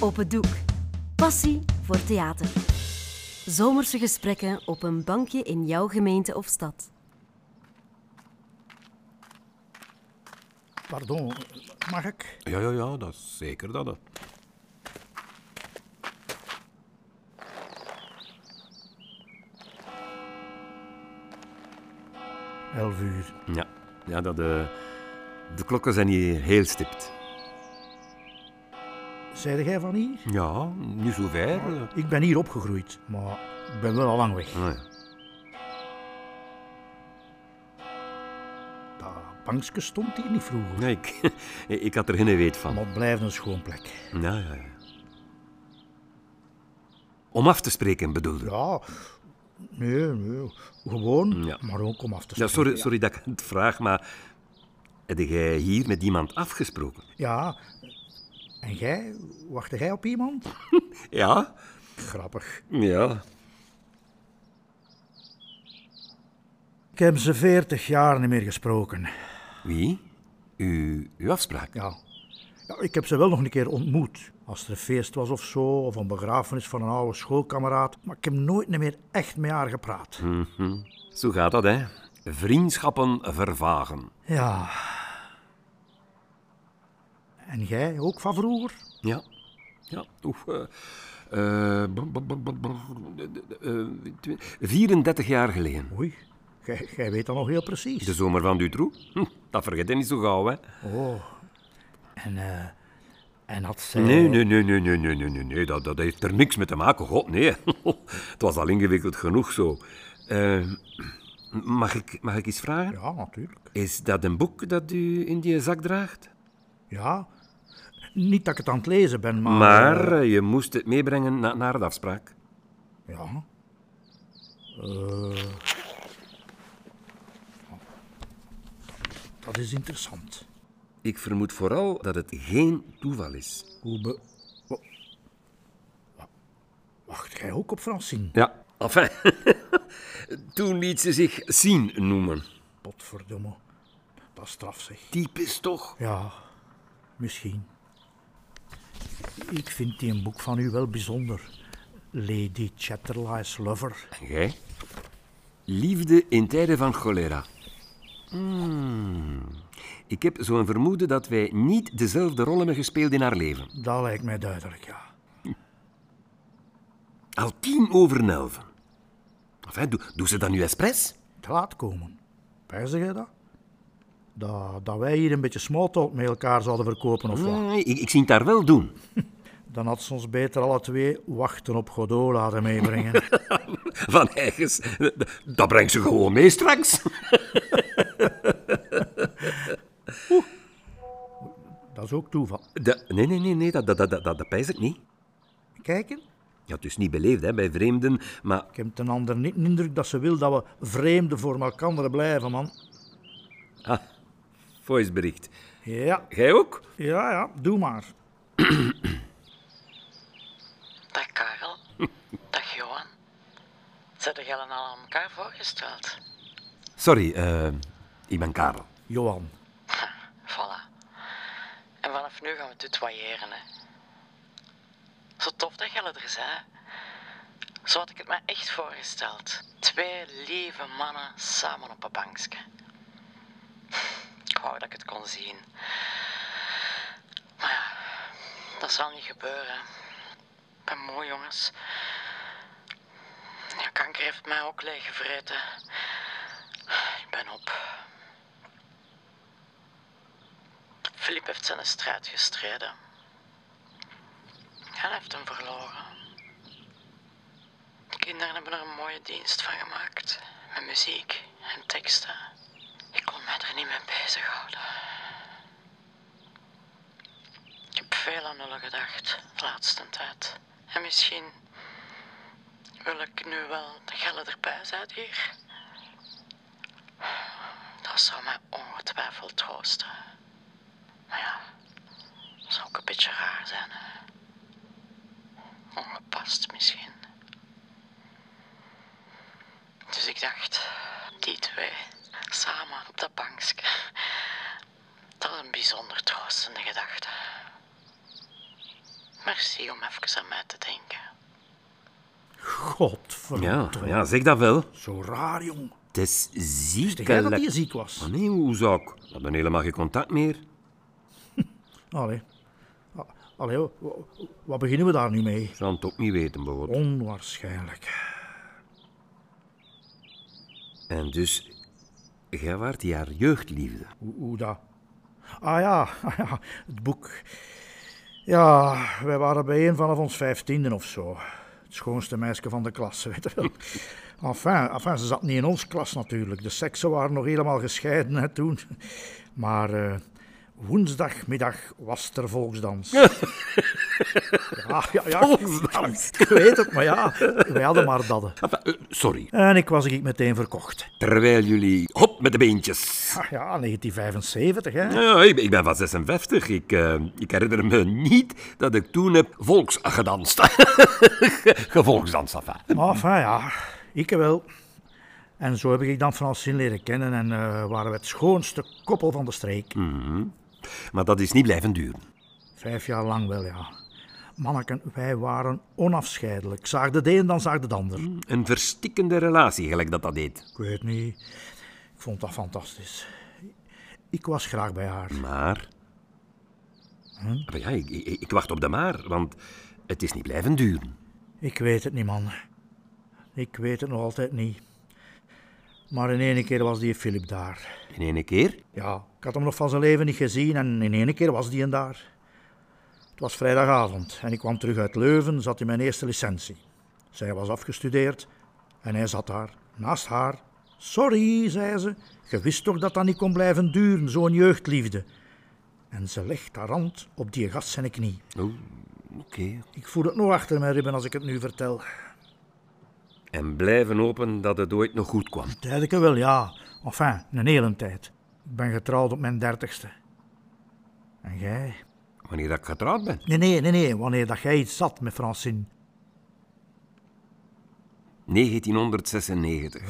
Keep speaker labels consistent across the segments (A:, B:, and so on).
A: Op het doek. Passie voor theater. Zomerse gesprekken op een bankje in jouw gemeente of stad.
B: Pardon, mag ik?
C: Ja, ja, ja, dat is zeker dat. hè.
B: Elf uur.
C: Ja, ja dat, eh, de klokken zijn hier heel stipt.
B: Zeide jij van hier?
C: Ja, nu zover. eh.
B: Ik ben hier opgegroeid, maar ik ben wel al lang weg.
C: Ah, ja.
B: Dat bankje stond hier niet vroeger.
C: Nee, ik, ik had er geen weet van.
B: Maar het blijft een schoon plek.
C: Ja, ja, ja. Om af te spreken bedoelde.
B: Ja, nee, nee. Gewoon,
C: Ja.
B: maar ook om af te
C: Ja,
B: spreken.
C: sorry, sorry dat ik het vraag, maar heb jij hier met iemand afgesproken?
B: Ja. En jij? Wachtte jij op iemand?
C: Ja?
B: Grappig.
C: Ja.
B: Ik heb ze veertig jaar niet meer gesproken.
C: Wie? U, uw afspraak?
B: Ja. ja. Ik heb ze wel nog een keer ontmoet. Als er een feest was of zo, of een begrafenis van een oude schoolkameraad. Maar ik heb nooit meer echt met haar gepraat.
C: Hm. Zo gaat dat, hè? Vriendschappen vervagen.
B: Ja. En jij ook van vroeger?
C: Ja. Ja, oef. eh, eh, br- br- br- br- br- eh, twi- 34 jaar geleden.
B: Oei, jij, jij weet dat nog heel precies.
C: De zomer van Dutroux. Hm, dat vergeet je niet zo gauw, hè?
B: Oh. En, eh, en had zij...
C: Nee, nee, nee, nee, nee, nee, nee, nee, nee. Dat, dat heeft er niks mee te maken. God, nee. Het was al ingewikkeld genoeg zo. Eh, mag, ik, mag ik iets vragen?
B: Ja, natuurlijk.
C: Is dat een boek dat u in die zak draagt?
B: Ja. Niet dat ik het aan het lezen ben, maar...
C: Maar
B: eh,
C: eh, je moest het meebrengen na, naar de afspraak.
B: ja. Eh. Dat is interessant.
C: Ik vermoed vooral dat het geen toeval is.
B: Hoe be... Wa- Oh. wa- Wacht jij ook op Francine?
C: Ja. Enfin, toen liet ze zich Sien noemen.
B: Potverdomme. Dat is straf, zeg.
C: Typisch toch?
B: Ja, misschien. Ik vind die een boek van u wel bijzonder. Lady Chatterley's Lover.
C: En jij? Liefde in tijden van cholera. Hmm. Ik heb zo'n vermoeden dat wij niet dezelfde rol hebben gespeeld in haar leven.
B: Dat lijkt mij duidelijk, ja.
C: Al tien over elven. Enfin, doe, doe ze dan nu expres?
B: Te laat komen. Wijzig jij dat? dat? Dat wij hier een beetje smalltalk met elkaar zouden verkopen of wat?
C: Nee, ik, ik zie het daar wel doen.
B: Dan had ze ons beter alle twee wachten op Godot laten meebrengen.
C: Van ergens. Dat brengt ze gewoon mee straks.
B: dat is ook toeval.
C: Dat- nee, nee, nee, nee dat, dat, dat, dat, dat pijs ik niet.
B: Kijken,
C: Ja, het is niet beleefd hè, bij vreemden, maar
B: ik heb ten ander niet de indruk dat ze wil dat we vreemden voor elkaar blijven, man.
C: voicebericht.
B: Ja,
C: Jij ook?
B: ja, ja, doe maar.
D: Dag Karel. Dag Johan. Zijn er al aan elkaar voorgesteld?
C: Sorry, eh, ik ben Karel.
B: Johan,
D: Voilà. En vanaf nu gaan we tutoyeren, hè. Zo tof dat jullie er zijn. Zo had ik het me echt voorgesteld. Twee lieve mannen samen op een bankje. Ik wou dat ik het kon zien. Maar ja, dat zal niet gebeuren. Ik ben moe, jongens. Ja, kanker heeft mij ook leeggevreten. Ik ben op. Filip heeft zijn strijd gestreden. Hij heeft hem verloren. De kinderen hebben er een mooie dienst van gemaakt. Met muziek en teksten. Ik kon mij er niet mee bezighouden. Ik heb veel aan jullie gedacht de laatste tijd. En misschien wil ik nu wel dat jullie erbij zijn hier. Dat zou mij ongetwijfeld troosten. Maar Nou ja, dat zou ook een beetje raar zijn. hè. Ongepast misschien. Dus ik dacht, die twee samen op dat bankje. Dat is een bijzonder troostende gedachte. Merci om even aan mij te denken.
C: Ja,
B: Godverdomme.
C: ja, zeg dat wel.
B: Zo raar, jong.
C: Het is
B: Denk jij dat
C: ziekelijk.
B: hij ziek was?
C: Ah, nee, hoe zou ik? We hebben helemaal geen contact meer.
B: Allee. A- Allee, wa- wa- wat beginnen we daar nu mee?
C: Ik zou het ook niet weten, bijvoorbeeld.
B: Onwaarschijnlijk.
C: En dus, jij waart haar jeugdliefde.
B: Hoe, hoe dat? Ah ja, ah ja, het boek. Ja, wij waren bijeen vanaf ons vijftiende of zo. Het schoonste meisje van de klas, weet je wel. Enfin, enfin, ze zat niet in ons klas natuurlijk. De seksen waren nog helemaal gescheiden hè, toen. Maar eh, woensdagmiddag was het er volksdans. ja, ja, ja.
C: Volksdans?
B: Ik weet het, maar ja, wij hadden maar dadden.
C: Enfin, eh, sorry.
B: En ik was ik meteen verkocht.
C: Terwijl jullie... Hop, met de beentjes.
B: Ah ja, 1975, hè.
C: Ja, ik ben- ik ben van 56. Ik, eh, ik herinner me niet dat ik toen heb volks gedanst. Gevolksdans, enfin.
B: Maar enfin, ja, ik wel. En zo heb ik dan Francine leren kennen en eh, waren we het schoonste koppel van de streek.
C: Maar dat is niet blijven duren.
B: Vijf jaar lang wel, ja. Manneken, wij waren onafscheidelijk. Zaagde de een, dan zaagde de ander.
C: Een verstikkende relatie, gelijk dat dat deed.
B: Ik weet niet. Ik vond dat fantastisch. Ik was graag bij haar.
C: Maar... Ah, Maar ja, ik, ik, ik wacht op de maar, want het is niet blijven duren.
B: Ik weet het niet, man. Ik weet het nog altijd niet. Maar in één keer was die Philip daar.
C: In één keer?
B: Ja, ik had hem nog van zijn leven niet gezien en in één keer was die en daar. Het was vrijdagavond en ik kwam terug uit Leuven, zat in mijn eerste licentie. Zij was afgestudeerd en hij zat daar, naast haar. Sorry, zei ze, je wist toch dat dat niet kon blijven duren, zo'n jeugdliefde. En ze legt haar hand op die gast zijn knie.
C: Oké.
B: Ik voel het nog achter mijn ribben als ik het nu vertel.
C: En blijven hopen dat het ooit nog goed kwam.
B: Tijdelijke wel, ja. Enfin, een hele tijd. Ik ben getrouwd op mijn dertigste. En jij?
C: Wanneer dat ik getrouwd ben.
B: Nee, nee, nee, nee. Wanneer dat jij iets zat met Francine.
C: 1996.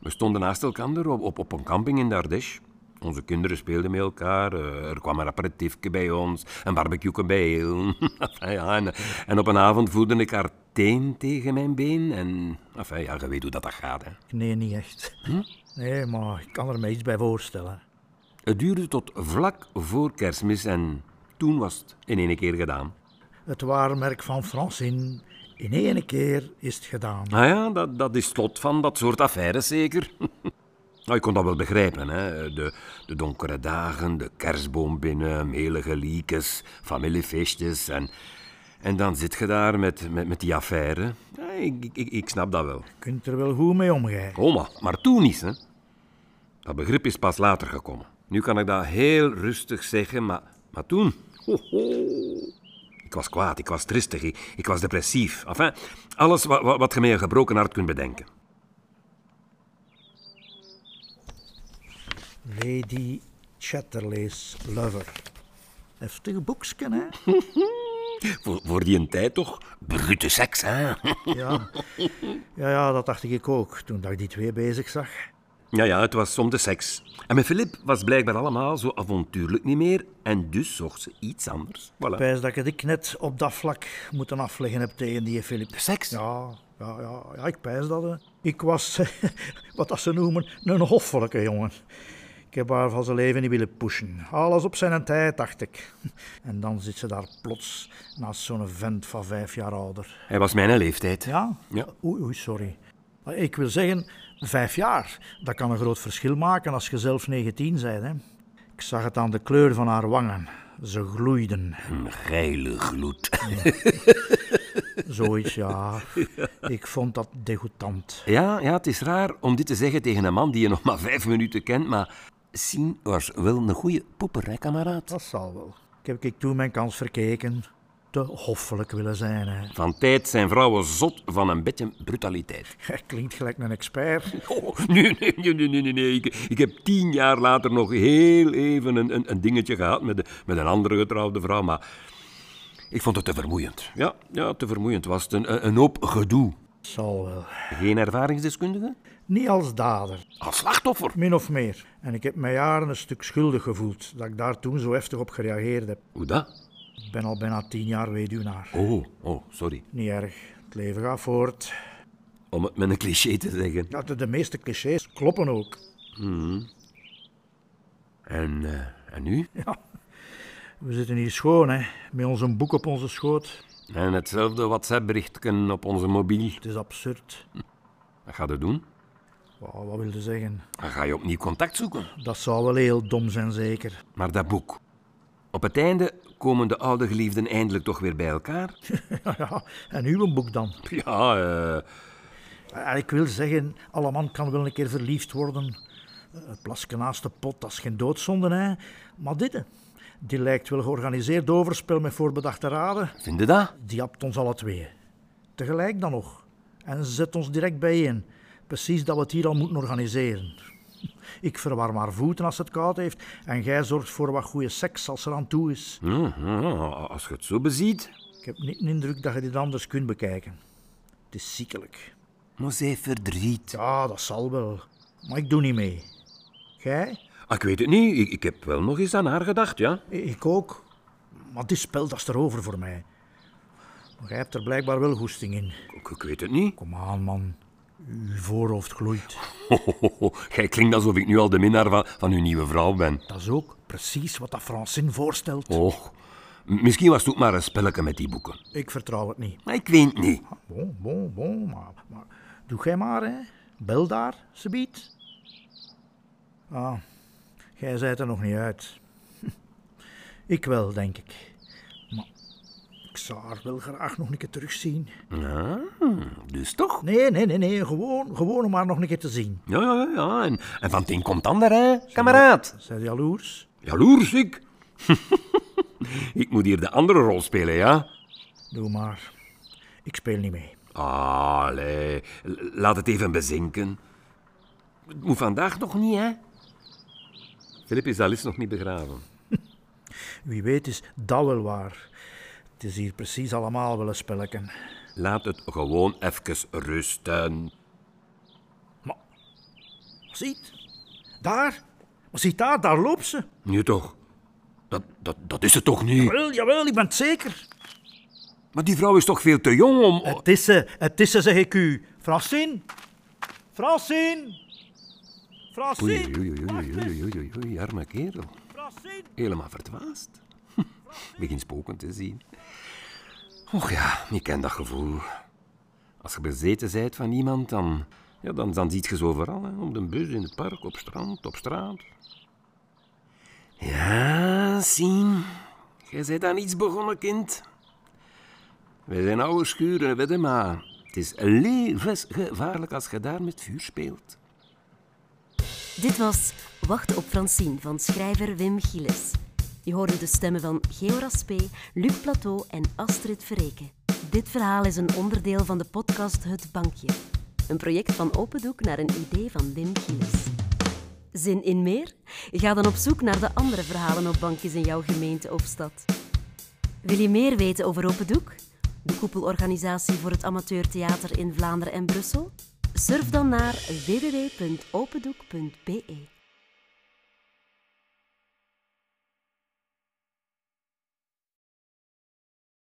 C: We stonden naast elkaar op, op, op een camping in Dardesh. Onze kinderen speelden met elkaar. eh, Er kwam een aperitiefje bij ons, een barbecue bij heel. Enfin, ja, en, en op een avond voelde ik haar teen tegen mijn been. En enfin, ja, je weet hoe dat, dat gaat. Hè.
B: Nee, niet echt. Nee, maar ik kan er me iets bij voorstellen.
C: Het duurde tot vlak voor kerstmis en toen was het in één keer gedaan.
B: Het waarmerk van Francine. In één keer is het gedaan.
C: Nou ja, dat, dat is het lot van dat soort affaires zeker. Nou, ik kon dat wel begrijpen, hè. De, de donkere dagen, de kerstboom binnen, melige liekes, familiefeestjes en... En dan zit je daar met, met, met die affaire. Ja, ik, ik- ik, ik snap dat wel.
B: Je kunt er wel goed mee omgaan.
C: Oma, maar toen niet, hè. Dat begrip is pas later gekomen. Nu kan ik dat heel rustig zeggen, maar, maar toen... Ho, ho. Ik was kwaad, ik was tristig, ik, ik was depressief. Enfin, alles wat, wat, wat je met een gebroken hart kunt bedenken.
B: Lady Chatterley's Lover. Heftig boeksken, hè?
C: Voor, voor die een tijd toch? Brute seks, hè?
B: Ja. ja, ja, dat dacht ik ook toen dat ik die twee bezig zag.
C: Ja, ja, het was om de seks. En met Filip was blijkbaar allemaal zo avontuurlijk niet meer. En dus zocht ze iets anders. Voilà.
B: Pijs dat ik het net op dat vlak moeten afleggen heb tegen die Filip.
C: Seks?
B: Ja, ja, ja, ja ik pijs dat. hè. Ik was, wat dat ze noemen, een hoffelijke jongen. Ik heb haar van zijn leven niet willen pushen. Alles op zijn tijd, dacht ik. En dan zit ze daar plots naast zo'n vent van vijf jaar ouder.
C: Hij was mijn leeftijd.
B: Ja?
C: Ja.
B: Oei, oei, sorry. Maar Ik wil zeggen, vijf jaar. Dat kan een groot verschil maken als je zelf 19 bent. Hè. Ik zag het aan de kleur van haar wangen. Ze gloeiden.
C: Een geile gloed.
B: Zoiets, ja. Ik vond dat degoutant.
C: Ja, ja, het is raar om dit te zeggen tegen een man die je nog maar vijf minuten kent, maar Sien was wel een goede poeper, hè, kameraad?
B: Dat zal wel. Ik heb ik toen mijn kans verkeken. Te hoffelijk willen zijn, hè.
C: Van tijd zijn vrouwen zot van een beetje brutaliteit.
B: Jij Klinkt gelijk een expert.
C: Oh, nee, nee, nee, nee, nee, nee, nee. Ik, ik heb tien jaar later nog heel even een, een, een dingetje gehad met, de- met een andere getrouwde vrouw, maar ik vond het te vermoeiend. Ja, ja te vermoeiend was het. Een, een hoop gedoe.
B: Zal wel.
C: Geen ervaringsdeskundige?
B: Niet als dader,
C: Als slachtoffer.
B: min of meer. En ik heb mij jaren een stuk schuldig gevoeld dat ik daar toen zo heftig op gereageerd heb.
C: Hoe dat?
B: Ik ben al bijna tien jaar weduwnaar.
C: Oh, oh, sorry.
B: Niet erg. Het leven gaat voort.
C: Om het met een cliché te zeggen.
B: Ja, de, de meeste clichés kloppen ook.
C: En, eh, en nu?
B: We zitten hier schoon, hè. Met onze boek op onze schoot.
C: En hetzelfde WhatsApp-berichtken op onze mobiel.
B: Het is absurd.
C: Wat ga je doen?
B: Wauw, wat wilde zeggen?
C: Dan ga je opnieuw contact zoeken.
B: Dat zou wel heel dom zijn, zeker.
C: Maar dat boek. Op het einde komen de oude geliefden eindelijk toch weer bij elkaar?
B: ja, en uw boek dan?
C: Ja, eh,
B: Eh, Ik wil zeggen, alle man kan wel een keer verliefd worden. Eh, Het plasken naast de pot, dat is geen doodzonde, hè. Maar dit, hè, die lijkt wel georganiseerd overspel met voorbedachte raden.
C: vind je dat?
B: Die hapt ons alle twee. Tegelijk dan nog. En zet ons direct bijeen. Precies dat we het hier al moeten organiseren. Ik verwarm haar voeten als het koud heeft en jij zorgt voor wat goede seks als er aan toe is.
C: Hm, hm, als je het zo beziet.
B: Ik heb niet de indruk dat je dit anders kunt bekijken. Het is ziekelijk.
C: Maar zij heeft verdriet.
B: Ja, dat zal wel. Maar ik doe niet mee. Jij?
C: Ah, ik weet het niet. Ik, ik heb wel nog eens aan haar gedacht, ja.
B: I- Ik ook. Maar dit spel dat is erover voor mij. Maar jij hebt er blijkbaar wel goesting in.
C: Ik, ik weet het niet.
B: Kom aan, man. Uw voorhoofd gloeit.
C: Ho, ho, ho, ho. Jij klinkt alsof ik nu al de minnaar van, van uw nieuwe vrouw ben.
B: Dat is ook precies wat dat Francine voorstelt.
C: Och, m- misschien was het ook maar een spelletje met die boeken.
B: Ik vertrouw het niet.
C: Maar ik weet het niet.
B: Bon, bon, bon, maar, maar doe jij maar, hè. Bel daar, ze biedt. Ah, jij zijt er nog niet uit. Ik wel, denk ik. Maar ik zou haar wel graag nog een keer terugzien.
C: Ja, dus toch?
B: Nee, nee, nee, nee, gewoon, gewoon om haar nog een keer te zien.
C: Ja, ja, ja, ja. En, en van het een komt het ander, hè, kameraad.
B: Zij jaloers?
C: Jaloers, ik. ik moet hier de andere rol spelen, ja?
B: Doe maar. Ik speel niet mee.
C: Allee, l- laat het even bezinken. Het moet vandaag nog niet, hè? Filip is al eens nog niet begraven.
B: Wie weet is dat wel waar. Het is hier precies allemaal wel een spelletje.
C: Laat het gewoon even rusten.
B: Ziet? Daar? Maar ziet daar, daar loopt ze.
C: Nu toch? Dat, dat, dat is het toch niet?
B: Wel, jawel, ik ben het zeker.
C: Maar die vrouw is toch veel te jong om...
B: Het is ze, het is ze, zeg ik u. Francine? Francine?
C: Oei,
B: Francine?
C: oei, oei,
B: Wacht
C: oei,
B: eens.
C: oei, oei, oei, oei, arme kerel.
B: Francine?
C: Helemaal verdwaasd. Begin spoken te zien. Och ja, ik ken dat gevoel. Als je bezeten bent van iemand, dan, ja, dan, dan ziet je ze overal. Hè. Op de bus, in het park, op strand, op straat. Ja, zien. Jij bent aan iets begonnen, kind. Wij zijn oude schuren, weet je maar. Het is levensgevaarlijk als je daar met vuur speelt.
A: Dit was Wacht op Francine van schrijver Wim Gilles. Je hoorde de stemmen van Geo Raspé, Luc Plateau en Astrid Verreken. Dit verhaal is een onderdeel van de podcast Het Bankje. Een project van Open Doek naar een idee van Wim Gilles. Zin in meer? Ga dan op zoek naar de andere verhalen op bankjes in jouw gemeente of stad. Wil je meer weten over Open Doek? De koepelorganisatie voor het amateurtheater in Vlaanderen en Brussel? Surf dan naar www.opendoek.be.